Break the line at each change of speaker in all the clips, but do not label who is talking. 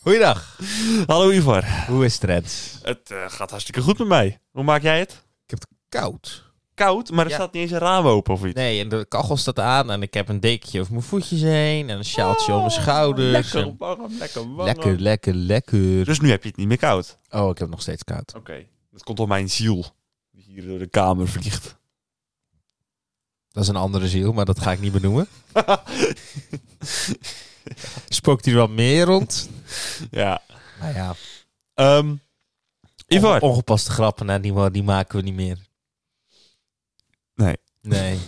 Goeiedag.
Hallo Ivar.
Hoe is het, Rens?
Het eh, gaat hartstikke goed met mij. Hoe maak jij het?
Koud.
Koud, maar er
Ja.
staat niet eens een raam open of iets.
Nee, en de kachel staat aan en ik heb een dekentje over mijn voetjes heen en een sjaaltje over mijn schouders.
Oh, Lekker
en-
Dus, eh, warm, lekker warm.
lekker, lekker, lekker.
Dus nu heb je het niet meer koud.
Oh, ik heb nog steeds koud.
Oké. Dat komt door mijn ziel. Die hier door de kamer vliegt.
Dat is een andere ziel, maar dat ga ik niet benoemen. Spookt hier wel meer rond?
ja.
Nou ja,
Ehm Ivar.
onge- ongepaste grappen, nou, die, ma- die maken we niet meer.
Nee.
Nee,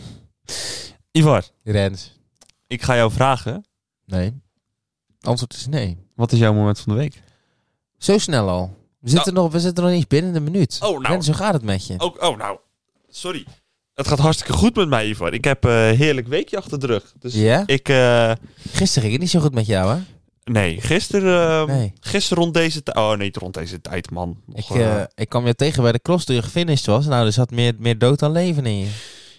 Ivar,
Rens.
ik ga jou vragen.
Nee. Antwoord is nee.
Wat is jouw moment van de week?
Zo snel al. We zitten, nog, we zitten nog niet eens binnen de minuut.
Nou. Oh, nou.
Rens, hoe gaat het met je?
Ook, oh nou, sorry. Het gaat hartstikke goed met mij, Ivar. Ik heb eh, een heerlijk weekje achter de rug. Dus
Ja?
ik... eh,
Gisteren ging het niet zo goed met jou, hè?
nee, gisteren... eh,
Nee.
Gisteren rond deze tijd... Oh nee, rond deze tijd, man. Nog,
Ik,
eh,
eh, ik kwam je tegen bij de cross toen je gefinished was. Nou, er zat meer, meer dood dan leven in je.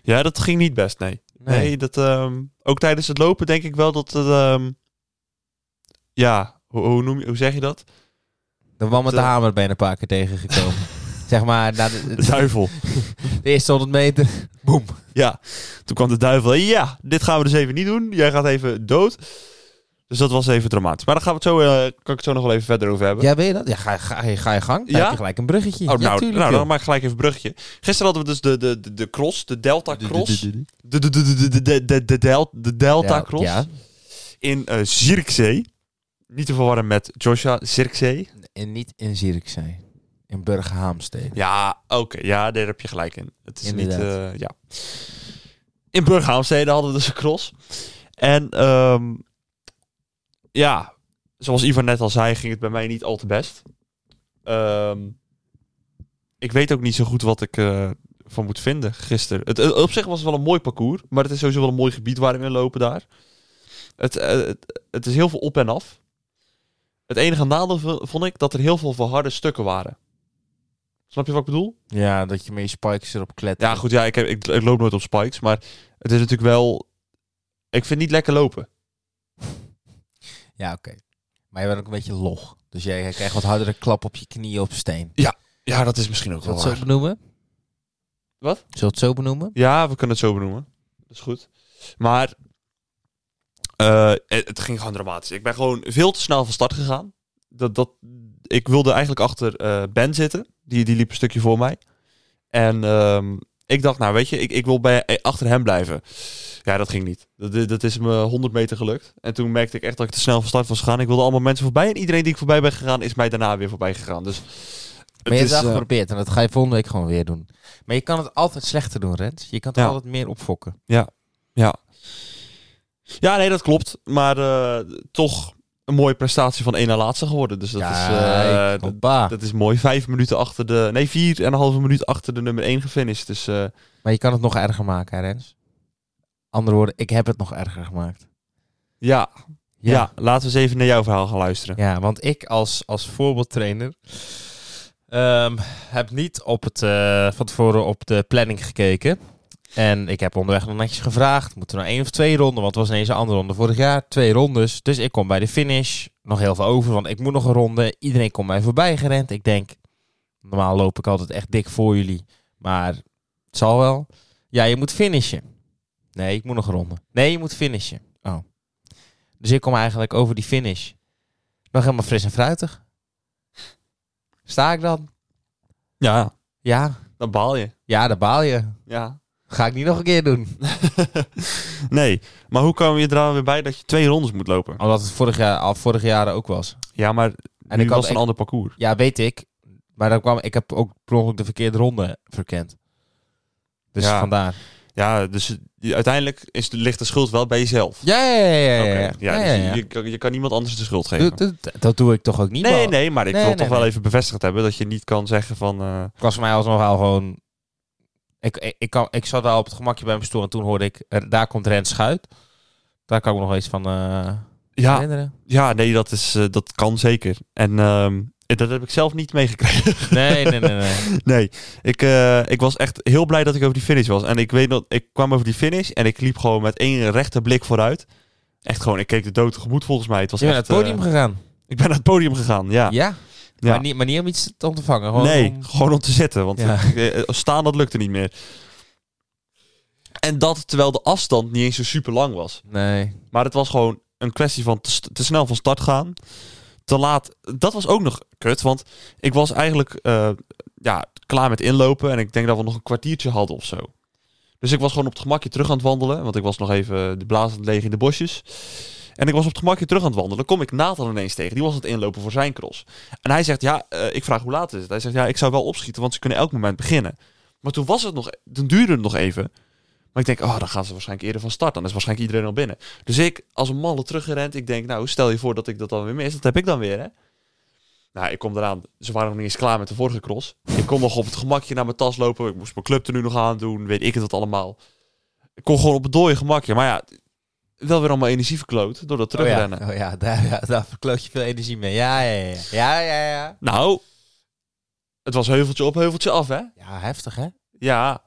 Ja, dat ging niet best, nee. Nee, dat, ehm, ook tijdens het lopen denk ik wel dat het... ehm, ja, hoe, hoe, noem je, hoe zeg je dat?
De man met de
Eh.
hamer ben je een paar keer tegengekomen. zeg maar, na de, de
duivel.
eerste 100 meter. Boem.
Ja, toen kwam de duivel. Ja, dit gaan we dus even niet doen. Jij gaat even dood. Dus dat was even dramatisch. Maar daar gaan we het zo, eh, kan ik het zo nog wel even verder over hebben.
Ja, ben je dat? Ja, ga, ga, je- ga je gang. Dan
Ja?
heb je gelijk een bruggetje.
Oh,
Ja,
nou,
tuurlijk,
nou,
joh.
dan maak ik gelijk even een bruggetje. Gisteren hadden we dus de, de, de, de cross, de Delta Cross.
Du- du- du- du-
De, de, de, de, de, de, de, de del- de Delta
Ja,
Cross
Ja,
in eh Zierikzee. Niet te verwarren met Joshua Zierikzee.
en niet in Zierikzee. In Burgerhaamstede.
Ja, oké. Ja, daar heb je gelijk in. Het is niet...
Inderdaad.
eh, ja. In Burghaamstede hadden we dus een cross. En ehm, ja, zoals Ivan net al zei, ging het bij mij niet al te best. Ehm, ik weet ook niet zo goed wat ik eh, van moet vinden gisteren. Het, eh, op zich was het wel een mooi parcours, maar het is sowieso wel een mooi gebied waar we in lopen daar. Het, eh, het, het is heel veel op en af. Het enige nadeel v- vond ik dat er heel veel verharde stukken waren. Snap je wat ik bedoel?
Ja, dat je met je spikes erop klettert.
Ja, goed, ja, ik, heb, ik, ik loop nooit op spikes, maar het is natuurlijk wel... Ik vind het niet lekker lopen.
Ja, oké. Maar je bent ook een beetje log. Dus jij krijgt wat hardere klap op je knieën op steen.
Ja, dat is misschien ook
Zullen we het zo benoemen?
Wat?
Zullen we het zo benoemen?
Ja, we kunnen het zo benoemen. Dat is goed. Maar eh, het, het ging gewoon dramatisch. Ik ben gewoon veel te snel van start gegaan. Dat, dat, ik wilde eigenlijk achter eh, Ben zitten. Die, die liep een stukje voor mij. En ehm, ik dacht, nou weet je, ik, ik wil bij, eh, achter hem blijven. Ja, dat ging niet. Dat, dat is me 100 meter gelukt. En toen merkte ik echt dat ik te snel van start was gegaan. Ik wilde allemaal mensen voorbij. En iedereen die ik voorbij ben gegaan, is mij daarna weer voorbij gegaan. Dus
Maar je
is,
hebt het wel
eh,
geprobeerd en dat ga je volgende week gewoon weer doen. Maar je kan het altijd slechter doen, Rens. Je kan het
Ja.
altijd meer opfokken.
Ja, nee, dat klopt. Maar eh, toch een mooie prestatie van één na laatste geworden. Dus dat, is, eh,
Kijk,
dat,
hoppa.
dat is mooi. Vijf minuten achter de... Nee, vier en een halve minuut achter de nummer één gefinished. Dus eh,
Maar je kan het nog erger maken, hè, Rens. Andere woorden, ik heb het nog erger gemaakt.
ja, ja.
Ja,
laten we eens even naar jouw verhaal gaan luisteren.
Ja, want ik als, als voorbeeldtrainer ehm, heb niet op het, eh, van tevoren op de planning gekeken. En ik heb onderweg nog netjes gevraagd, moeten we nou één of twee ronden? Want het was ineens een andere ronde vorig jaar, twee rondes. Dus ik kom bij de finish, nog heel veel over, want ik moet nog een ronde. Iedereen komt mij voorbij gerend. Ik denk, normaal loop ik altijd echt dik voor jullie, maar het zal wel. Ja, je moet finishen. Nee, ik moet nog een ronde. Nee, je moet finishen. Oh. Dus ik kom eigenlijk over die finish. Nog helemaal fris en fruitig. Sta ik dan?
Ja,
Ja.
dan baal je.
Ja, daar baal je.
Ja.
Ga ik niet nog een keer doen.
nee, maar hoe kwam je er dan weer bij dat je twee rondes moet lopen?
Omdat het vorig jaar, al vorige jaren ook was.
Ja, maar
En
nu
ik had
was het een
echt-
ander parcours.
Ja, weet ik. Maar dan kwam, ik heb ook per ongeluk de verkeerde ronde verkend. Dus
Ja.
vandaar.
Ja, dus je- uiteindelijk is, de- ligt de schuld wel bij jezelf.
Ja, ja, ja, ja.
Oké.
ja, ja. ja, ja,
dus je-
ja.
Je, kan, je kan niemand anders de schuld geven.
Doe- doe- Dat, doe ik toch ook niet?
Nee,
man.
nee, maar ik
Nee,
wil
nee,
toch wel
nee.
even bevestigd hebben dat je niet kan zeggen van... eh,
Ik was voor mij alsnog wel gewoon... Ik, ik, ik, kan, ik zat wel op het gemakje bij mijn stoel en toen hoorde ik... er- Daar komt Rens Schuit. Daar kan ik me nog iets van eh,
ja,
herinneren.
ja, nee, dat, is, eh, dat kan zeker. En ehm, dat heb ik zelf niet meegekregen.
Nee, nee, nee, nee.
nee, ik, eh, ik was echt heel blij dat ik over die finish was. En ik weet dat ik kwam over die finish en ik liep gewoon met één rechte blik vooruit. Echt gewoon, ik keek de dood tegemoet volgens mij. Het was
Je bent
echt,
naar het podium
eh,
gegaan.
Ik ben naar het podium gegaan, ja.
Ja?
Ja.
Maar, niet, maar niet om iets te ontvangen? Gewoon
nee,
om-
gewoon om te zitten. Want
Ja.
eh, eh, staan, dat lukte niet meer. En dat terwijl de afstand niet eens zo super lang was.
Nee.
Maar het was gewoon een kwestie van te, st- te snel van start gaan. Te laat. Dat was ook nog kut. Want ik was eigenlijk eh, ja, klaar met inlopen. En ik denk dat we nog een kwartiertje hadden of zo. Dus ik was gewoon op het gemakje terug aan het wandelen. Want ik was nog even de blaas aan het legen in de bosjes. En ik was op het gemakje terug aan het wandelen. Kom ik Nathan ineens tegen. Die was aan het inlopen voor zijn cross. En hij zegt, ja, eh, ik vraag hoe laat is het? Hij zegt, ja, ik zou wel opschieten, want ze kunnen elk moment beginnen. Maar toen was het nog, toen duurde het nog even. Maar ik denk, oh, dan gaan ze waarschijnlijk eerder van start. Dan is waarschijnlijk iedereen al binnen. Dus ik, als een malle teruggerend, ik denk, nou, stel je voor dat ik dat dan weer mis. Dat heb ik dan weer, hè? Nou, ik kom eraan. Ze waren nog niet eens klaar met de vorige cross. Ik kon nog op het gemakje naar mijn tas lopen. Ik moest mijn club er nu nog aan doen. Weet ik het wat allemaal. Ik kon gewoon op het dode gemakje. Maar ja, wel weer allemaal energie verkloot door dat
Oh ja.
terugrennen.
Oh ja, daar, ja, daar verkloot je veel energie mee. Ja, ja, ja. Ja, ja, ja.
Nou, het was heuveltje op, heuveltje af, hè?
Ja, heftig hè?
Ja.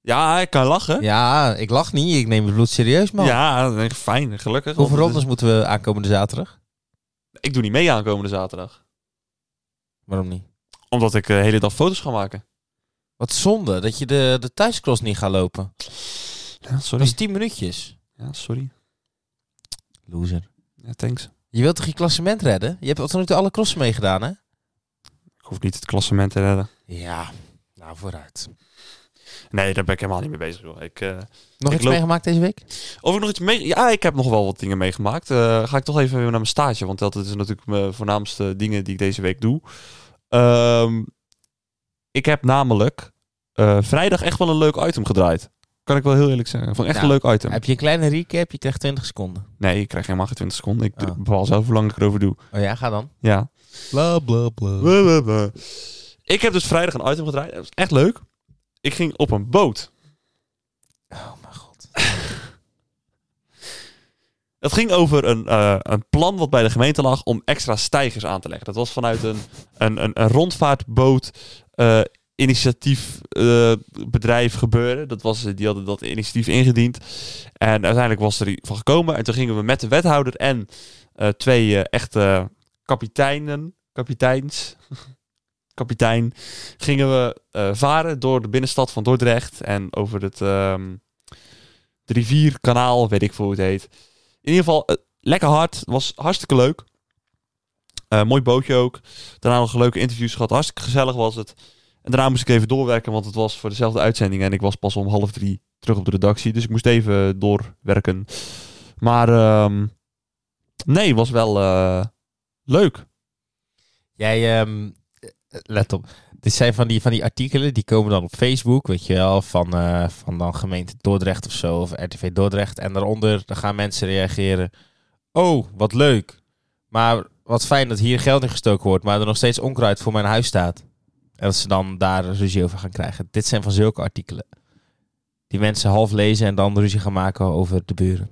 Ja, ik kan lachen.
Ja, ik lach niet. Ik neem het bloed serieus, man.
Ja, dat denk ik, fijn, gelukkig.
Hoeveel
want het
rondes moeten we aankomende zaterdag?
is- Ik doe niet mee aankomende zaterdag.
Waarom niet?
Omdat ik eh, de hele dag foto's ga maken.
Wat zonde dat je de, de thuiscross niet gaat lopen.
Ja,
Dat is
sorry.
10 minuutjes.
Ja, sorry.
Loser.
Ja, thanks.
Je wilt toch je klassement redden? Je hebt tot nu toe alle crossen meegedaan, hè?
Ik hoef niet het klassement te redden.
Ja. Nou, vooruit.
Nee, daar ben ik helemaal niet mee bezig. Joh. Ik, eh,
Nog
Ik
iets
loop-
meegemaakt deze week?
Of ik nog iets mee... Ja, ik heb nog wel wat dingen meegemaakt. Eh, ga ik toch even weer naar mijn stage. Want dat is natuurlijk mijn voornaamste dingen die ik deze week doe. Ehm, ik heb namelijk eh, vrijdag echt wel een leuk item gedraaid. Kan ik wel heel eerlijk zeggen. Vond ik echt
Nou,
een leuk item.
Heb je een kleine recap? Je krijgt 20 seconden.
Nee, ik krijg helemaal geen 20 seconden. Ik
Oh.
bepaal zelf hoe lang ik erover doe.
Oh ja, ga dan.
Ja.
Bla, bla, bla.
Blah, blah, blah. Ik heb dus vrijdag een item gedraaid. Dat was echt leuk. Ik ging op een boot.
Oh mijn god.
Het ging over een, eh, een plan wat bij de gemeente lag om extra stijgers aan te leggen. Dat was vanuit een, een, een, een rondvaartboot eh, initiatief eh, bedrijf gebeuren. Dat was, die hadden dat initiatief ingediend. En uiteindelijk was er iets van gekomen. En toen gingen we met de wethouder en eh, twee eh, echte kapiteinen, kapiteins, kapitein, gingen we eh, varen door de binnenstad van Dordrecht en over het ehm, de rivierkanaal, weet ik veel hoe het heet. In ieder geval, eh, lekker hard. Was hartstikke leuk. Eh, mooi bootje ook. Daarna nog leuke interviews gehad. Hartstikke gezellig was het. En daarna moest ik even doorwerken, want het was voor dezelfde uitzending. En ik was pas om half drie terug op de redactie. Dus ik moest even doorwerken. Maar ehm, nee, was wel eh, leuk.
Jij, ehm, let op. Dit zijn van die, van die artikelen, die komen dan op Facebook, weet je wel, van, eh, van dan gemeente Dordrecht of zo, of RTV Dordrecht. En daaronder dan gaan mensen reageren. Oh, wat leuk. Maar wat fijn dat hier geld in gestoken wordt, maar er nog steeds onkruid voor mijn huis staat. En dat ze dan daar ruzie over gaan krijgen. Dit zijn van zulke artikelen. Die mensen half lezen en dan ruzie gaan maken over de buren.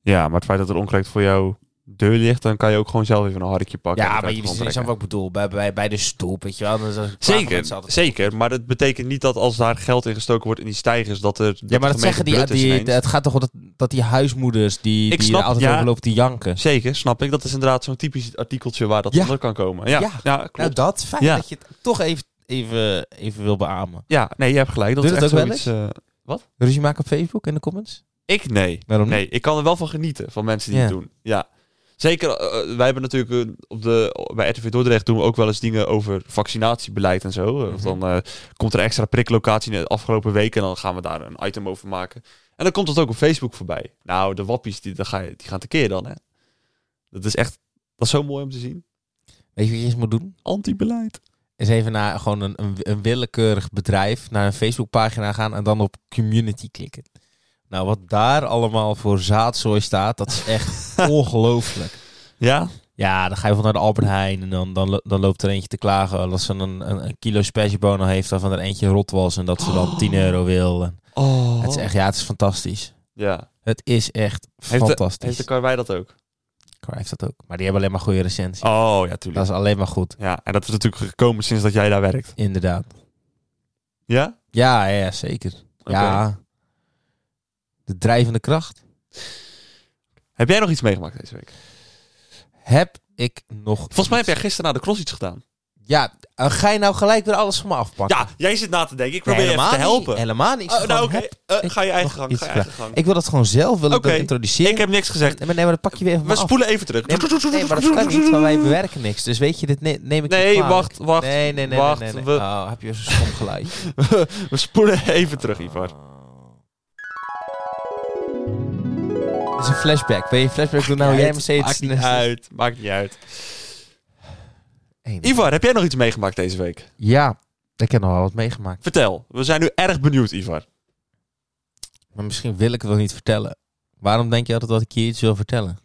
Ja, maar het feit dat er onkruid voor jou deur ligt, dan kan je ook gewoon zelf even een harkje pakken. en
Ja,
het
maar
uit de
jullie
grond
zijn
trekken.
wat ik bedoel. Bij, bij, bij de stoep, weet je wel. dan- dan klagen mensen
Zeker,
altijd.
zeker. Maar dat betekent niet dat als daar geld in gestoken wordt in die stijgers, dat er.
Ja, maar dat zeggen die, die
dat
het gaat toch om dat, dat die huismoeders die,
Ik
die
snap,
er altijd
ja.
over lopen te janken.
Zeker, snap ik. Dat is inderdaad zo'n typisch artikeltje waar dat
Ja.
onder kan komen. Ja,
Ja.
ja.
Nou,
klopt.
dat fijn
Ja.
dat je het toch even, even, even wil beamen.
Ja, nee, je hebt gelijk. Dat
Doe
is
je
echt
dat ook wel
zoiets. eh,
Ruzie maken op Facebook in de comments?
ik nee.
Waarom niet?
Nee, ik kan er wel van genieten van mensen die
Ja.
het doen. Hm? Ja. Zeker, eh, wij hebben natuurlijk eh, op de, bij RTV Dordrecht doen we ook wel eens dingen over vaccinatiebeleid en zo. Eh, Of dan eh, komt er een extra priklocatie in de afgelopen weken en dan gaan we daar een item over maken. En dan komt dat ook op Facebook voorbij. Nou, de wappies, die, dan ga je, die gaan tekeer dan, hè. Dat is echt, dat is zo mooi om te zien.
Weet je wat je eens moet doen?
Anti-beleid.
Is even naar gewoon een, een, een willekeurig bedrijf, naar een Facebookpagina gaan en dan op community klikken. Nou, wat daar allemaal voor zaadzooi staat, dat is echt ongelooflijk.
Ja?
Ja, dan ga je van naar de Albert Heijn en dan, dan, lo- dan loopt er eentje te klagen dat ze een, een, een kilo speciebonen heeft waarvan er eentje rot was en dat ze dan 10 euro wil. En
Oh.
Het is echt, ja, het is fantastisch.
Ja.
Het is echt
Heeft de-
fantastisch.
Heeft de karwei dat ook?
Car heeft dat ook. Maar die hebben alleen maar goede recensies.
Oh, ja,
Dat
tuurlijk.
is alleen maar goed,
Ja, en dat is natuurlijk gekomen sinds dat jij daar werkt.
inderdaad.
Ja?
Ja, ja, ja, zeker.
Oké.
Ja. De drijvende kracht.
Heb jij nog iets meegemaakt deze week?
Heb ik nog...
Volgens mij heb
iets-
jij gisteren na de cross iets gedaan.
Ja, eh, ga je nou gelijk weer alles van me afpakken?
Ja, jij zit na te denken. Ik
Nee,
probeer je even te
helemaal niet,
helpen.
helemaal niet. Ik,
Oh,
zeg
nou,
gewoon,
oké.
heb-
Eh, ga je eigen
nog
gang.
iets
Ga je
vragen?
eigen gang. Ik,
ik wil dat gewoon zelf wil ik
Oké.
dat introduceren.
heb niks gezegd.
Nee, maar, nee, maar dat pak je weer even
We spoelen even terug.
Nee, maar, nee, maar dat kan niet, want wij bewerken niks. Dus weet je, dit ne- neem ik
Nee,
niet kwalijk.
wacht, wacht.
Nee, nee, nee.
wacht,
nee, nee, Ah.
we-
nee. Oh, heb je zo'n stom geluid.
We spoelen even terug, Ivar.
Het is een flashback. Wil je een flashback doen? Nou, jij Mercedes.
Maakt niet uit. Maakt niet uit.
Eén.
Ivar, heb jij nog iets meegemaakt deze week?
Ja, ik heb nog wel wat meegemaakt.
Vertel. We zijn nu erg benieuwd, Ivar.
Maar misschien wil ik het wel niet vertellen. Waarom denk je altijd dat ik je iets wil vertellen?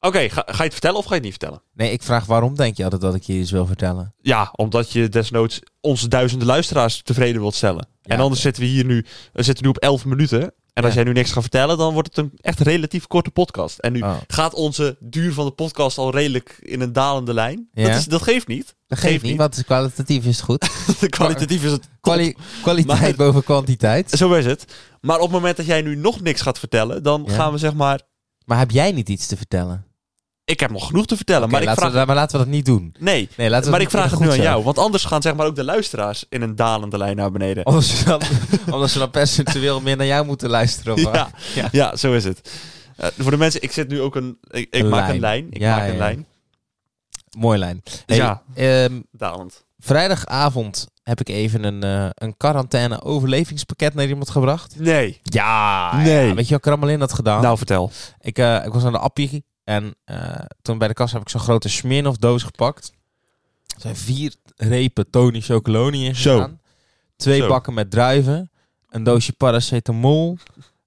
Oké, ga, ga je het vertellen of ga je het niet vertellen?
Nee, ik vraag waarom denk je altijd dat ik je iets wil vertellen?
Ja, omdat je desnoods onze duizenden luisteraars tevreden wilt stellen.
Ja,
en anders
oké.
zitten we hier nu, we zitten nu op 11 minuten. En als
Ja.
jij nu niks gaat vertellen, dan wordt het een echt relatief korte podcast. En nu
Oh,
gaat onze duur van de podcast al redelijk in een dalende lijn.
Ja.
Dat, is, dat geeft niet.
dat geeft niet, want kwalitatief is het goed.
De kwalitatief is het.
Kwali- kwaliteit
Maar-
boven kwantiteit.
Zo is het. Maar op het moment dat jij nu nog niks gaat vertellen, dan
Ja.
gaan we zeg maar.
Maar heb jij niet iets te vertellen?
Ik heb nog genoeg te vertellen,
Oké,
maar ik
laten
vraag.
we, maar laten we dat niet doen.
Nee,
Nee, laten we
maar ik vraag het nu
goed
aan
zo.
jou. Want anders gaan zeg maar ook de luisteraars in een dalende lijn naar beneden.
Omdat ze dan, omdat ze dan percentueel meer naar jou moeten luisteren. of wat?
ja,
Ja.
ja. zo is het. Eh, voor de mensen, ik zit nu ook een. Ik, ik
Een
maak
lijn.
een lijn. Ik
Ja,
maak een
ja.
lijn. Dus
Mooi lijn. Hey,
Ja.
ehm,
Dalend.
vrijdagavond heb ik even een, eh, een quarantaine overlevingspakket naar iemand gebracht.
Nee.
Ja,
Nee.
ja. Weet je wat Kramelin had gedaan?
Nou, vertel.
Ik, eh, ik was aan de appie en eh, toen bij de kassa heb ik zo'n grote Smirnoff doos gepakt. Er zijn vier repen Tony Chocoloni in
Zo.
gedaan. Twee
Zo.
bakken met druiven. Een doosje paracetamol.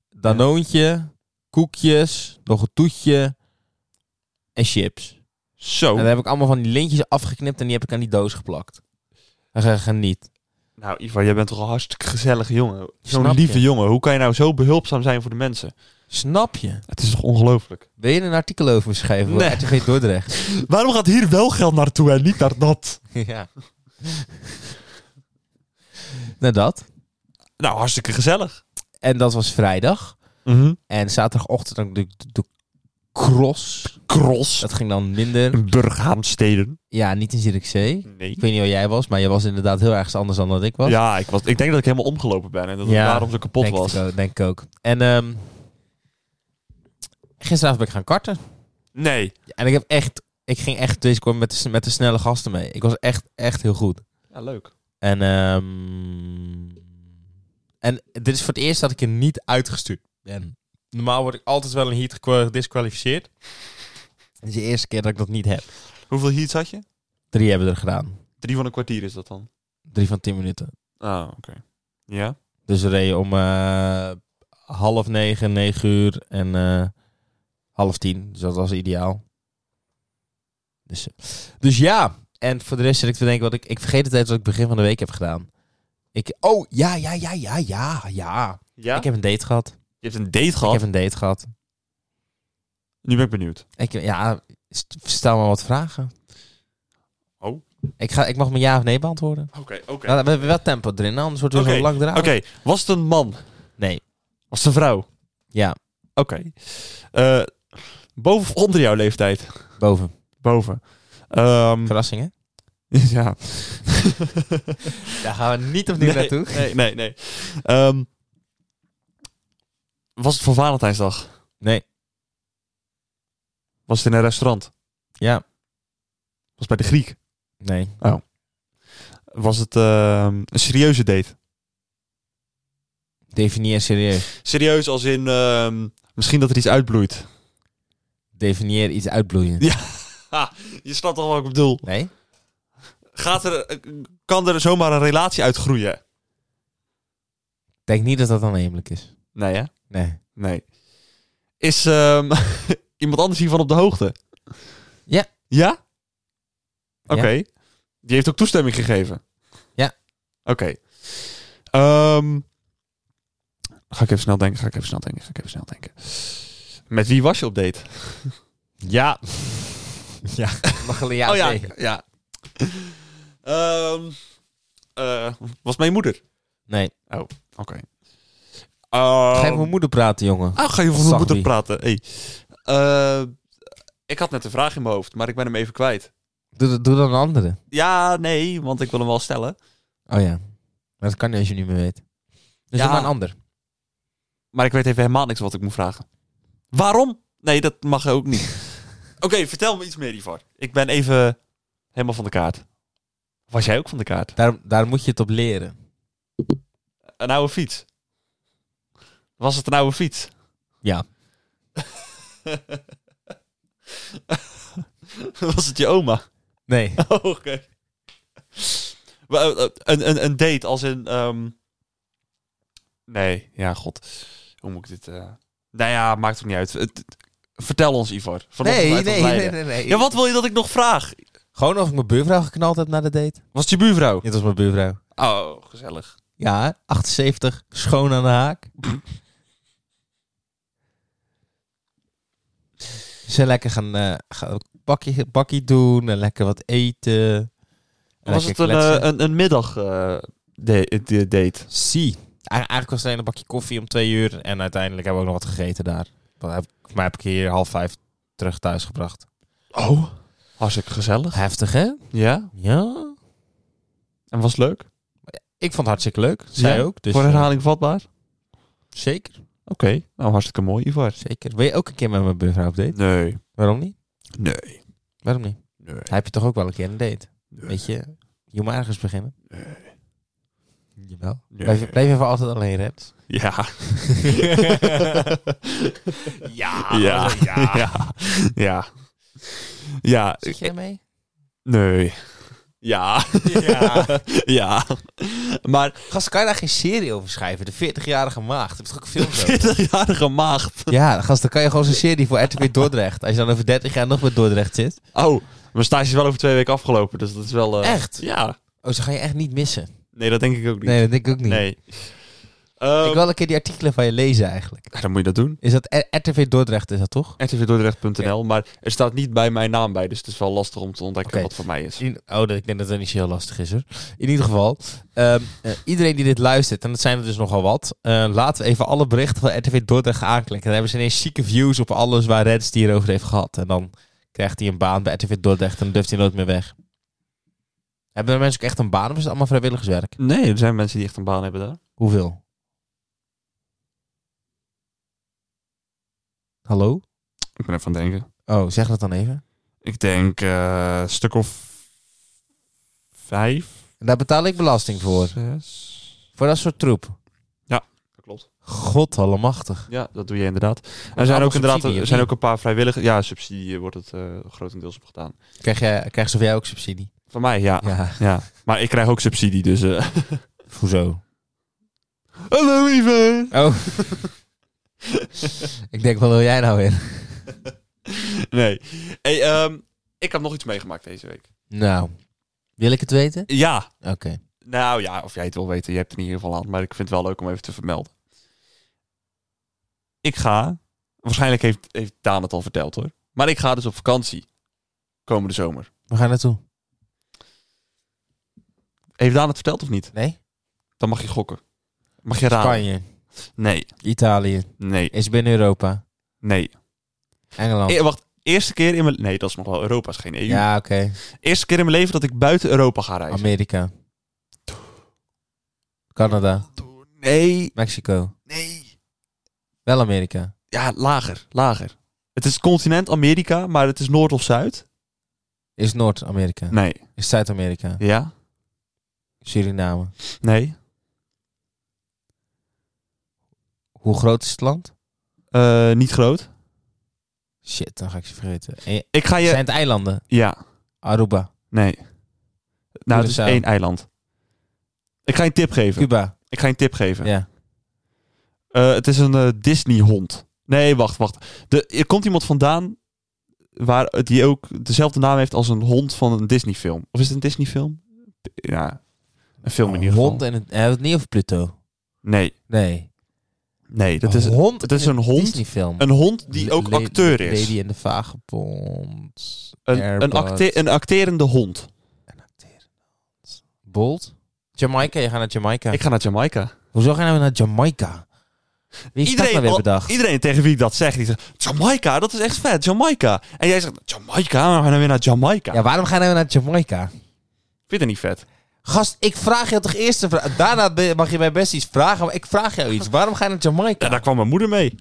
Danoontje. Koekjes. Nog een toetje. En chips.
Oh. Zo.
En daar heb ik allemaal van die lintjes afgeknipt en die heb ik aan die doos geplakt. En ge- geniet.
Nou, Ivar, jij bent toch een hartstikke gezellige jongen. Zo'n
Snap je.
lieve jongen. Hoe kan je nou zo behulpzaam zijn voor de mensen?
Snap je?
Het is toch ongelooflijk?
Wil je een artikel over me schrijven? Nee.
Nee.
RTV Dordrecht.
Waarom gaat hier wel geld naartoe en niet naar dat?
ja. nou dat.
Nou, hartstikke gezellig.
En dat was vrijdag. En zaterdagochtend dan de, de, de cross.
Cross.
Dat ging dan minder.
Burghaamsteden.
Ja, niet in Zierikzee.
Nee.
Ik weet niet waar jij was, maar jij was inderdaad heel erg anders dan dat ik was.
Ja, ik, was, ik denk dat ik helemaal omgelopen ben en dat het
Ja,
daarom zo kapot
denk
was.
Ik ook, denk ik ook. En ehm, gisteravond ben ik gaan karten.
Nee.
En ik heb echt... Ik ging echt... Dus ik kwam met de, met de snelle gasten mee. Ik was echt, echt heel goed.
Ja, leuk.
En, ehm, en dit is voor het eerst dat ik er niet uitgestuurd ben. Normaal word ik altijd wel een heat gekwa- gedisqualificeerd. Dit is de eerste keer dat ik dat niet heb.
Hoeveel heats had je?
Drie hebben er gedaan.
Drie van een kwartier is dat dan.
Drie van tien minuten.
Ah, oké. Ja?
Dus we reden om eh, half negen, negen uur en eh, half tien. Dus dat was ideaal. Dus, eh, dus ja, en voor de rest zit ik te denken, wat ik, ik vergeet het tijd wat ik begin van de week heb gedaan. Ik, oh, ja, ja, ja, ja, ja, ja.
Ja?
Ik heb een date gehad.
Je hebt een date
Ik
gehad.
heb een date gehad.
Nu ben ik benieuwd.
Ik, ja, st- stel me wat vragen.
Oh.
Ik, ga, ik mag mijn ja of nee beantwoorden.
Oké, oké.
Nou, we hebben wel tempo erin, hè, anders wordt het
Oké,
zo lang eraan.
Oké, was het een man?
Nee.
Was het een vrouw? Oké.
Ja,
Eh, boven of onder jouw leeftijd?
boven.
Boven. Ehm,
Verrassingen.
ja.
Daar gaan we niet opnieuw
nee,
naartoe.
Nee, nee, nee. Ehm, was het voor Valentijnsdag?
Nee.
Was het in een restaurant?
Ja,
Was het bij de Griek?
nee.
Oh. Was het ehm, een serieuze date?
Definieer serieus.
Serieus als in ehm, misschien dat er iets uitbloeit.
Definieer iets uitbloeiend.
Je snapt al wat ik bedoel.
Nee?
Gaat er, kan er zomaar een relatie uitgroeien?
Ik denk niet dat dat aannemelijk is.
Nee, hè?
Nee.
Nee. Is ehm, iemand anders hiervan op de hoogte?
Ja.
Ja?
Ja.
Oké. Die heeft ook toestemming gegeven?
Ja.
Oké. Ehm, ga ik even snel denken, ga ik even snel denken, ga ik even snel denken. Met wie was je op date?
Ja. Ja. Mag alleen ja,
oh ja,
tegen.
ja. Ehm, eh, was mijn moeder.
Nee.
Oké. Ehm,
Ga even met mijn moeder praten, jongen.
Ah, ga je
Zag
over mijn moeder
wie.
praten? Hey. eh, ik had net een vraag in mijn hoofd, maar ik ben hem even kwijt.
Doe, doe dan een andere.
Ja, nee, want ik wil hem wel stellen.
Oh ja. Maar dat kan niet als je niet meer weet. Dus
Ja.
doe maar een ander.
Maar ik weet even helemaal niks wat ik moet vragen. Waarom? Nee, dat mag ook niet. Oké, vertel me iets meer hiervoor. Ik ben even helemaal van de kaart. Was jij ook van de kaart?
Daar, daar moet je het op leren.
Een oude fiets. Was het een oude fiets?
Ja.
Was het je oma?
Nee.
Oh, Oké. Wel, eh, Een, een, een date als in... ehm, Nee, ja, god. Hoe moet ik dit... eh, Nou ja, maakt ook niet uit. Het- het- Vertel ons, Ivor. Van ons
Nee,
uit
nee,
Leiden.
nee, nee, nee.
Ja, wat wil je dat ik nog vraag?
Gewoon of ik mijn buurvrouw geknald heb na de date.
Was het je buurvrouw?
Dit was mijn buurvrouw.
Oh, gezellig.
Ja, 78, schoon aan de haak. Ze lekker gaan, eh, gaan een bakje, bakje doen en lekker wat eten. En
was
lekker
het een,
kletsen.
eh, een, een middag eh, de, de- date?
Zie. Eigenlijk was het alleen een bakje koffie om twee uur. En uiteindelijk hebben we ook nog wat gegeten daar. Dat heb, ik- maar heb ik hier half vijf terug thuis gebracht.
Oh. Hartstikke gezellig.
Heftig, hè?
Ja.
Ja.
En was het leuk?
Ik vond het hartstikke leuk. Zij
Ja,
ook. Dus,
Voor
eh,
herhaling vatbaar? Oké.
zeker.
Nou, hartstikke mooi, Ivor.
Zeker. Wil je ook een keer met mijn buurvrouw op date?
Nee.
Waarom niet?
Nee.
Waarom niet?
Nee.
Heb je toch ook wel een keer een date? Weet je, je moet ergens beginnen. Jawel.
Nee.
Blijf, blijf even altijd alleen, Red.
Ja.
ja,
ja. Ja. Ja. Ja. Ja.
Zit jij mee?
Nee. Ja.
Ja.
Ja. Maar
Gast, kan je daar geen serie over schrijven? De 40-jarige maagd. Heb je toch ook veel over?
40-jarige maagd.
Ja, gast, dan kan je gewoon zo'n serie voor RTV Dordrecht. Als je dan over 30 jaar nog met Dordrecht zit.
Oh, mijn stage is wel over twee weken afgelopen, dus dat is wel... eh,
Echt?
Ja.
Oh, ze gaan je echt niet missen.
Nee, dat denk ik ook niet.
Nee, dat denk ik ook niet.
Nee. Ehm,
Ik wil een keer die artikelen van je lezen eigenlijk.
ja, dan moet je dat doen.
Is dat R- RTV Dordrecht, is dat toch?
rtvdordrecht.nl, maar er staat niet bij mijn naam bij, dus het is wel lastig om te ontdekken
Oké.
wat voor mij is.
In- oh, dat- ik denk dat dat niet zo heel lastig is hoor. In ieder geval, ehm, eh, iedereen die dit luistert, en dat zijn er dus nogal wat, eh, laten we even alle berichten van RTV Dordrecht aanklikken. Dan hebben ze ineens zieke views op alles waar Rens het hier over heeft gehad. En dan krijgt hij een baan bij RTV Dordrecht en dan durft hij nooit meer weg. Hebben er mensen ook echt een baan of is het allemaal vrijwilligerswerk?
Nee, er zijn mensen die echt een baan hebben daar.
Hoeveel? Hallo?
Ik ben even aan het denken.
Oh, zeg dat dan even.
Ik denk eh, een stuk of vijf,
En daar betaal ik belasting voor.
zes.
Voor dat soort troep.
Dat klopt.
God
Ja, dat doe je inderdaad. Er zijn ook inderdaad er zijn ook een paar vrijwilligers. Ja, subsidie wordt het eh, grotendeels op gedaan.
Krijg, jij, krijg jij ook subsidie?
Van mij, ja. ja.
Ja.
Maar ik krijg ook subsidie, dus... eh.
Hoezo?
Hallo, lieve!
Oh. ik denk, wat wil jij nou weer?
Nee. Hey, ehm, ik heb nog iets meegemaakt deze week.
Nou, wil ik het weten?
Ja,
Oké.
Nou ja, of jij het wil weten, je hebt het in ieder geval aan. Maar ik vind het wel leuk om even te vermelden. Ik ga, waarschijnlijk heeft, heeft Daan het al verteld hoor. Maar ik ga dus op vakantie. Komende zomer.
We gaan naartoe.
Heeft Daan het verteld of niet?
Nee?
Dan mag je gokken. Mag je raden?
Spanje,
Nee,
Italië,
nee,
is binnen Europa,
nee.
Engeland.
E- wacht, eerste keer in mijn... Nee, dat is nog wel Europa, is geen EU.
Oh. Ja, oké.
Eerste keer in mijn leven dat ik buiten Europa ga reizen.
Amerika. Canada,
Nee,
Mexico.
nee.
Wel Amerika.
Ja, lager, lager. Het is continent Amerika, maar het is Noord of Zuid?
Is Noord-Amerika.
Nee.
Is Zuid-Amerika.
Ja?
Suriname.
Nee.
Hoe groot is het land?
Eh, niet groot.
Shit, dan ga ik ze vergeten. Eh,
Ik ga je.
Zijn het eilanden?
Ja,
Aruba,
nee. Nou, het is
Curaçao.
één eiland. Ik ga je een tip geven.
Cuba.
Ik ga je een tip geven.
Ja.
Eh, het is een eh, Disney-hond. Nee, wacht, wacht. De, er komt iemand vandaan waar, die ook dezelfde naam heeft als een hond van een Disney-film. Of is het een Disney-film? Ja, een film in ieder geval.
Hond en een, hebben we het niet over Pluto?
Nee,
Nee.
nee, dat is
een hond.
het is
in
een hond.
Disneyfilm.
een hond die ook
Le-
acteur is.
Lady en de Vagebond.
Een, een,
Airbud.
acte- een acterende hond.
Een acteur. Bold. Jamaica, je gaat naar Jamaica.
Ik ga naar Jamaica.
Hoezo gaan we naar Jamaica? Wie is dat nou weer
al-
bedacht?
iedereen tegen wie ik dat zeg, die zegt, Jamaica, dat is echt vet, Jamaica. En jij zegt, Jamaica, maar we gaan dan weer naar Jamaica.
Ja, waarom gaan we naar Jamaica?
Ik vind het niet vet.
Gast, ik vraag je toch eerst een vraag. Daarna be- mag je mij best iets vragen, maar ik vraag jou iets. Waarom ga je naar Jamaica?
Ja, daar kwam mijn moeder mee.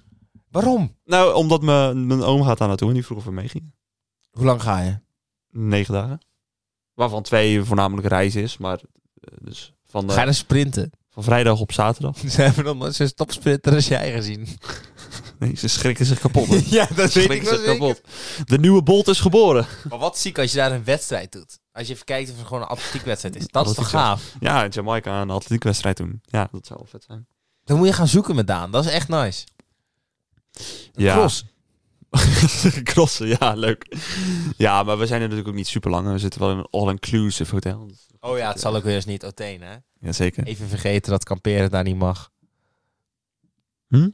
Waarom?
Nou, omdat mijn, mijn oom gaat daar naartoe en die vroeg of we meegingen.
Hoe lang ga je?
Negen dagen. Waarvan twee voornamelijk reizen is, maar eh, dus van, de-
Ga je naar sprinten?
van vrijdag op zaterdag.
Ze hebben nog nooit zo'n topsprinter als jij gezien.
Nee, ze schrikken zich kapot. hè.
ja,
Ze
dat weet ik
schrikken
wel
zich
zeker.
kapot. De nieuwe Bolt is geboren.
Maar wat ziek als je daar een wedstrijd doet. Als je even kijkt of het gewoon een atletiekwedstrijd is. Dat is toch
Atletiek,
gaaf?
Ja, in Jamaica een atletiekwedstrijd doen. Ja, dat zou wel vet zijn.
Dan moet je gaan zoeken met Daan. Dat is echt nice.
Ja.
Cross.
Crossen, ja, leuk. Ja, maar we zijn er natuurlijk ook niet super lang. en We zitten wel in een all-inclusive hotel.
Oh ja, het zal ook weer eens niet Oteen, hè?
Jazeker.
Even vergeten dat kamperen daar niet mag.
Hm?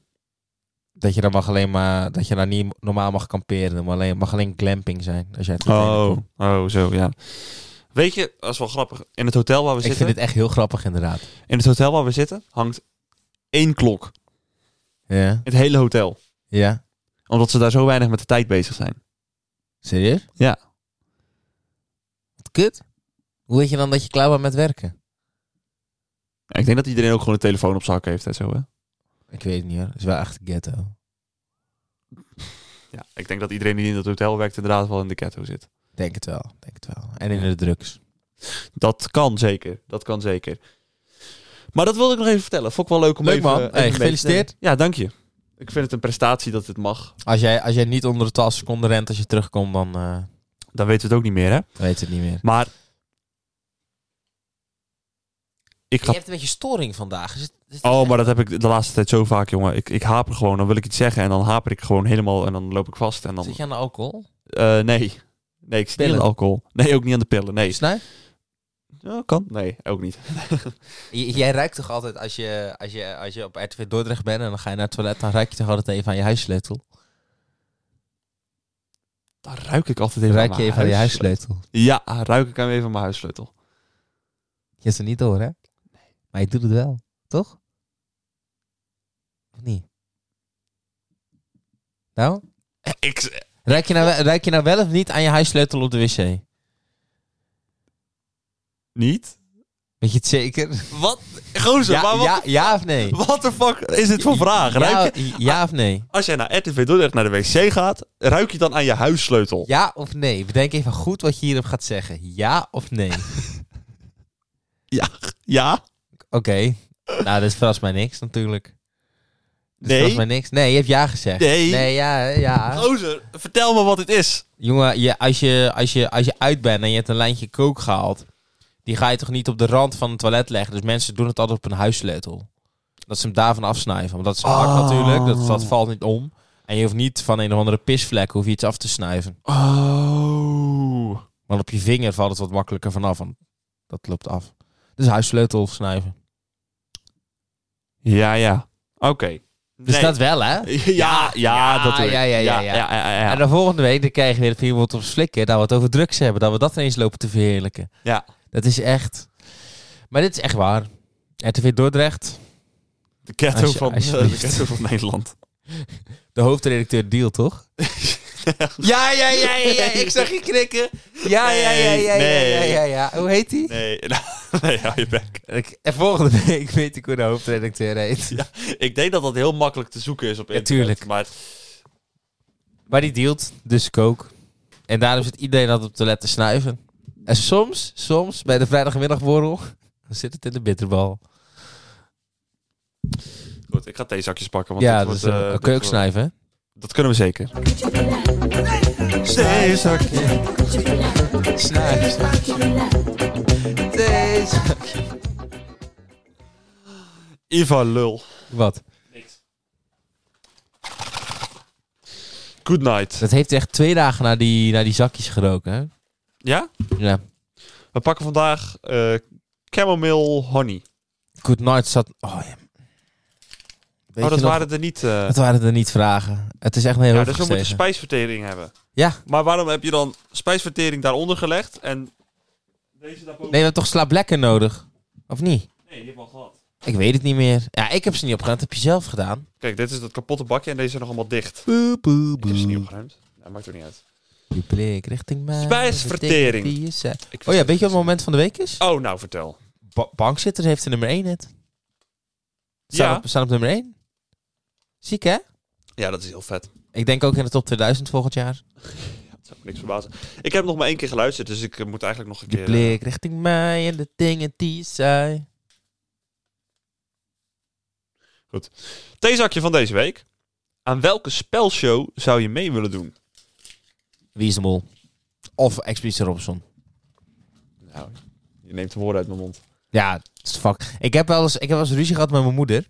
Dat je dan mag alleen maar... Dat je daar niet normaal mag kamperen. Maar alleen, mag alleen glamping zijn. Als jij het
Oh, oh, zo, ja. Weet je, dat is wel grappig. In het hotel waar we
Ik
zitten,
vind het echt heel grappig, inderdaad.
in het hotel waar we zitten, hangt één klok.
Ja?
Het hele hotel.
Ja?
Omdat ze daar zo weinig met de tijd bezig zijn.
Serieus?
Ja.
Wat kut. Hoe weet je dan dat je klaar bent met werken?
Ja, ik denk dat iedereen ook gewoon een telefoon op zak heeft en zo, hè?
Ik weet het niet, hoor. Dat is wel echt ghetto.
Ja, ik denk dat iedereen die in dat hotel werkt inderdaad wel in de ghetto zit.
Denk het wel, denk het wel. En in de drugs.
Dat kan zeker, dat kan zeker. Maar dat wilde ik nog even vertellen. Vond ik wel leuk om
Leuk,
even...
man.
even
Hey,
mee te
gefeliciteerd.
nemen. Ja, dank je. Ik vind het een prestatie dat dit mag.
Als jij, als jij niet onder de 12 seconden rent als je terugkomt, dan eh,
Dan weten we het ook niet meer, hè?
dan weet je het niet meer.
Maar... Ik
Je
ga...
hebt een beetje storing vandaag. Is het- is het-
Oh, maar dat heb ik de laatste tijd zo vaak, jongen. Ik, ik haper gewoon, dan wil ik iets zeggen en dan haper ik gewoon helemaal en dan loop ik vast en dan...
Zit je aan de alcohol?
Eh, nee. Nee, ik zit niet aan
Pillen.
de alcohol. Nee, ook niet aan de pillen. Nee.
Snuif?
Ja, kan. Nee, ook niet.
J- jij ruikt toch altijd als je, als, je, als je op RTV Dordrecht bent en dan ga je naar het toilet, dan ruik je toch altijd even aan je huissleutel?
Dan ruik ik altijd
Dan
even
ruik
aan mijn
je even aan je
huissleutel.
huissleutel.
Ja, ruik ik hem even aan mijn huissleutel.
Je hebt het niet door, hè? Maar je doet het wel, toch? Of niet? Nou?
Ik,
Ruik je nou, wel- ruik je nou wel of niet aan je huissleutel op de wc?
niet?
Weet je het zeker?
Wat? Gozer,
Ja,
maar wat,
ja, ja of nee?
what the fuck is dit voor vraag? Ruik
Ja,
je-
ja of nee?
als jij naar RTV Dordrecht naar de wc gaat, ruik je dan aan je huissleutel?
Ja of nee? Bedenk even goed wat je hierop gaat zeggen. Ja of nee? Oké.
Ja?
Nou, dit verrast mij niks natuurlijk. Dit
Nee?
verrast mij niks. Nee, je hebt ja gezegd.
Nee. Oh.
Nee, ja, hè, ja.
Gozer, vertel me wat het is.
Jongen, je, als, je, als, je, als je uit bent en je hebt een lijntje kook gehaald, die ga je toch niet op de rand van het toilet leggen? Dus mensen doen het altijd op een huissleutel. Dat ze hem daarvan afsnijven. Want dat is hard
Oh.
natuurlijk, dat, dat valt niet om. En je hoeft niet van een of andere pisvlek hoef je iets af te snuiven.
Oh.
Want op je vinger valt het wat makkelijker vanaf. Want dat loopt af. Dus huissleutel snuiven.
Ja, ja. Oké.
Dus
Nee.
dat wel, hè?
Ja, ja,
Ja,
dat doe ik.
ja, ja, ja, ja.
ja, ja.
En dan volgende week dan krijgen we weer de iemand op slikken. Dat we het over drugs hebben. Dat we dat ineens lopen te verheerlijken.
Ja.
Dat is echt... Maar dit is echt waar. RTV Dordrecht.
De ghetto
Alsje-
van, eh, de
alsjeblieft.
ghetto van Nederland.
De hoofdredacteur deal, toch? ja, ja, ja, ja, ja. Ik zag je knikken. Ja, ja, ja, ja, ja,
Nee,
ja,
nee.
ja, ja. Hoe heet die?
Nee, nee, hou je bek.
Ik- En volgende week weet ik hoe de hoofdredacteur heet.
Ik denk dat dat heel makkelijk te zoeken is op internet.
tuurlijk.
Maar
Maar die dealt dus kook. En daarom zit iedereen altijd op de letten snuiven. En soms, soms, bij de vrijdagmiddagborrel, dan zit het in de bitterbal.
goed, ik ga theezakjes pakken. Want
ja,
dit
dat is
wordt, eh,
een- een
dit wordt-
keuksnuiven. hè?
Dat kunnen we zeker. Theezakje.
Deze.
Ivan Lul.
Wat?
Good night.
Dat heeft echt twee dagen naar die, naar die zakjes geroken, hè?
Ja?
Ja.
We pakken vandaag eh chamomile honey.
Good Night zat... Oh, ja. Weet
oh, dat
je nog-
waren er niet... eh,
dat waren er niet vragen. Het is echt een heel
ja,
hoofd
dus we moeten
gestegen.
spijsvertering hebben.
Ja,
Maar waarom heb je dan spijsvertering daaronder gelegd en deze daarboven?
nee, we hebben toch slaap lekker nodig? Of niet?
Nee, die heb ik al gehad.
Ik weet het niet meer. Ja, ik heb ze niet opgeruimd. Dat heb je zelf gedaan.
Kijk, dit is dat kapotte bakje en deze zijn nog allemaal dicht.
Boe, boe,
Ik heb ze niet
boe.
opgeruimd. Nou, maakt ook niet uit.
Je blik richting mij.
Spijsvertering.
Die je zei.
Ik
Oh ja, weet je wat het moment van de week is?
Oh, nou vertel.
Ba- Bankzitters heeft de nummer 1 het. Staan,
Ja.
op, staan op nummer 1. Ziek, hè?
Ja, dat is heel vet.
Ik denk ook in de top 2000 volgend jaar.
Dat zou me niks verbazen. Ik heb nog maar één keer geluisterd, dus ik eh, moet eigenlijk nog een
Je
keer... eh,
blik richting mij en de dingen die je zei.
theezakje van deze week. Aan welke spelshow zou je mee willen doen?
Wie is de mol? Of Expeditie Robinson.
Nou, je neemt de woorden uit mijn mond.
Ja, het is fuck. Ik heb wel eens, ik heb wel eens ruzie gehad met mijn moeder.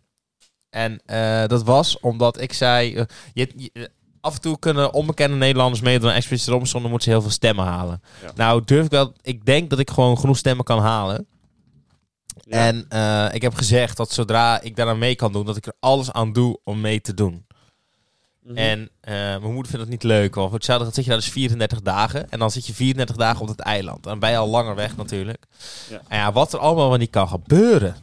En eh, dat was omdat ik zei... eh, je, je- eh, af en toe kunnen onbekende Nederlanders meedoen aan Expeditie Robinson. Dan moeten ze heel veel stemmen halen.
Ja.
Nou, durf ik wel... Ik denk dat ik gewoon genoeg stemmen kan halen.
Ja.
En eh, ik heb gezegd dat zodra ik daaraan mee kan doen... dat ik er alles aan doe om mee te doen.
Mhm.
En eh, mijn moeder vindt dat niet leuk. Want voor hetzelfde geld zit je daar dus 34 dagen. En dan zit je 34 dagen op het eiland. En ben je al langer weg natuurlijk.
Ja.
En ja, wat er allemaal wel niet kan gebeuren.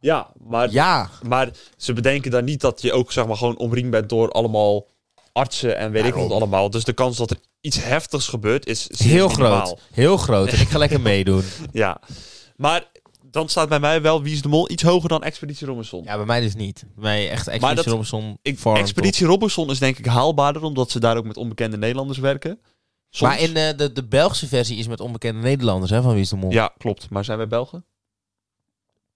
Ja, maar,
Ja.
maar ze bedenken dan niet dat je ook zeg maar, gewoon omringd bent door allemaal artsen en weet ik
Daarom.
wat allemaal. Dus de kans dat er iets heftigs gebeurt is zeer
Heel
minimaal.
groot. Heel groot. En ik ga lekker meedoen.
Ja, maar dan staat bij mij wel Wie is de Mol iets hoger dan Expeditie Robinson.
Ja, bij mij dus niet. Bij mij echt Expeditie
dat-
Robinson.
Ik,
farm
Expeditie Robinson is denk ik haalbaarder, omdat ze daar ook met onbekende Nederlanders werken.
top.
Soms.
Maar in eh, de, de Belgische versie is met onbekende Nederlanders, hè, van Wie is de Mol?
Ja, klopt. Maar zijn wij Belgen?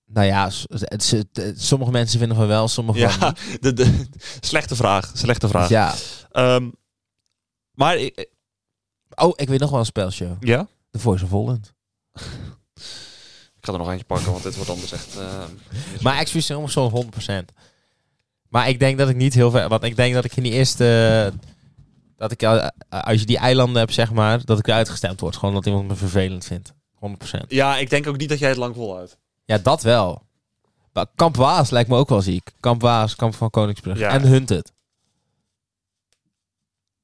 Nou ja, s- het- ze- het- sommige mensen vinden van wel, sommige van
Ja,
niet.
de, de, slechte vraag. Slechte vraag.
Oh, Ja.
Ehm, maar, ik-
Oh, ik weet nog wel een spelshow.
ja?
The Voice of Holland.
Ik ga er nog eentje pakken, want dit wordt anders echt... eh,
Maar Expeditie Robinson 100%. Maar ik denk dat ik niet heel ver... Want ik denk dat ik in die eerste... Dat ik, eh, als je die eilanden hebt, zeg maar... Dat ik eruit gestemd word. Gewoon dat iemand me vervelend vindt. 100%.
Ja, ik denk ook niet dat jij het lang volhoudt.
Ja, dat wel. Maar Kamp Waas lijkt me ook wel ziek. Kamp Waas, Kamp van Koningsbrug.
Ja.
En Hunted.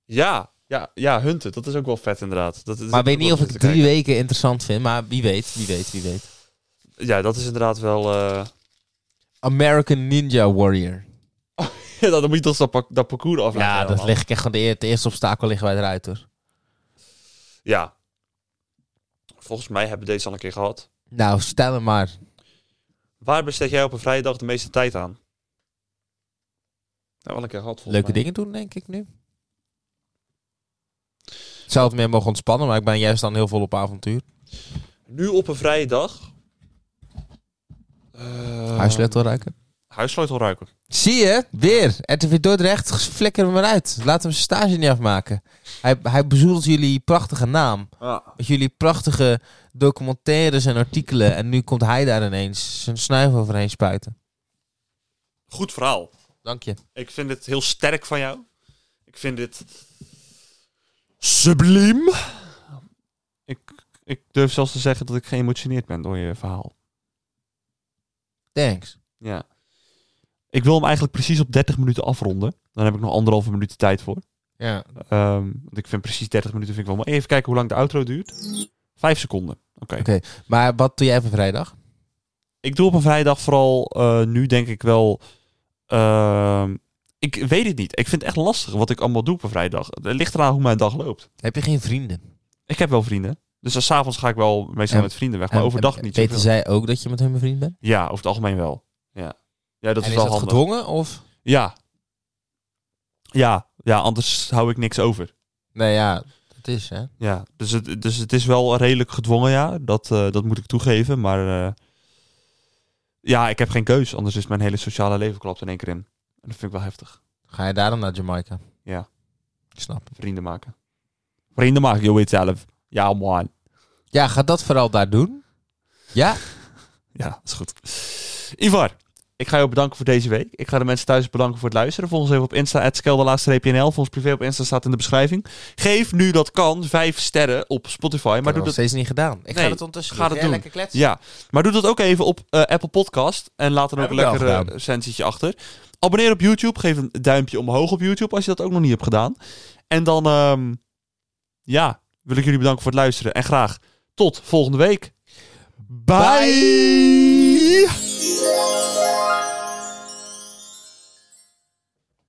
Ja, ja, ja, Hunten. Dat is ook wel vet inderdaad. Dat, dat
Maar ik
is
weet
ook
niet
wel
of ik
te
drie
kijken.
weken interessant vind. Maar wie weet, wie weet, wie weet.
Ja, dat is inderdaad wel... eh,
American Ninja Warrior.
Ja, dan moet je toch dat, pak- dat parcours afleggen.
Ja, dat
helemaal.
leg ik echt van de, eer- het eerste obstakel liggen wij eruit hoor.
Ja. Volgens mij hebben we deze al een keer gehad.
Nou, stel hem maar.
Waar besteed jij op een vrijdag de meeste tijd aan? Nou, wel een keer gehad volgens
leuke
mij.
dingen doen, denk ik nu. Ik zou het meer mogen ontspannen, maar ik ben juist dan heel vol op avontuur.
Nu op een vrije dag... eh,
Huissleutel ruiken.
Huissleutel ruiken.
Zie je? Weer. RTV Dordrecht, flikker hem eruit. Laat hem zijn stage niet afmaken. Hij, hij bezoedelt jullie prachtige naam.
Ja.
Met jullie prachtige documentaires en artikelen. En nu komt hij daar ineens zijn snuif overheen spuiten.
Goed verhaal.
Dank je.
Ik vind dit heel sterk van jou. Ik vind dit subliem. Ik, ik durf zelfs te zeggen dat ik geëmotioneerd ben door je verhaal.
Thanks.
Ja. Ik wil hem eigenlijk precies op 30 minuten afronden. Dan heb ik nog anderhalve minuut de tijd voor.
Ja.
Ehm, want ik vind precies 30 minuten vind ik wel mooi. Even kijken hoe lang de outro duurt. Vijf seconden. Oké.
Oké. Maar wat doe jij van vrijdag?
Ik doe op een vrijdag vooral eh, nu denk ik wel. ehm, ik weet het niet. Ik vind het echt lastig wat ik allemaal doe op een vrijdag. Het ligt eraan hoe mijn dag loopt.
Heb je geen vrienden?
Ik heb wel vrienden. Dus dan s'avonds ga ik wel meestal
En-
met vrienden weg. Maar
En-
overdag
en
niet
Weten
zoveel.
zij ook dat je met hun vriend bent?
Ja, over het algemeen wel. Ja, ja dat
en
is
is,
wel
dat
handig.
gedwongen of?
Ja. ja. Ja, anders hou ik niks over.
Nou ja, dat is hè.
Ja, dus het, dus het is wel redelijk gedwongen, ja. Dat, eh, dat moet ik toegeven. Maar eh, ja, ik heb geen keus. Anders is mijn hele sociale leven klapt in één keer in. En dat vind ik wel heftig.
Ga je daarom naar Jamaica?
Ja.
Ik snap. het.
Vrienden maken. Vrienden maken, je weet zelf. Ja, man.
Ja, ga dat vooral daar doen. Ja?
Ja, dat is goed. Ivar, ik ga jou bedanken voor deze week. Ik ga de mensen thuis bedanken voor het luisteren. Volg ons even op Insta, @skelderlaagstreepje_nl. Volg ons privé op Insta staat in de beschrijving. Geef nu dat kan vijf sterren op Spotify. Maar doe
nog
dat,
steeds niet gedaan. Ik
Nee,
ga dat ondertussen
ga
doen.
dat
Jij
doen.
lekker kletsen.
ja. maar doe dat ook even op eh, Apple Podcast. En laat er ook
Heb
een
ik wel
lekker
gedaan.
recensietje achter. Abonneer op YouTube. Geef een duimpje omhoog op YouTube als je dat ook nog niet hebt gedaan. En dan, ehm, ja, wil ik jullie bedanken voor het luisteren. En graag tot volgende week. Bye.
Thank you.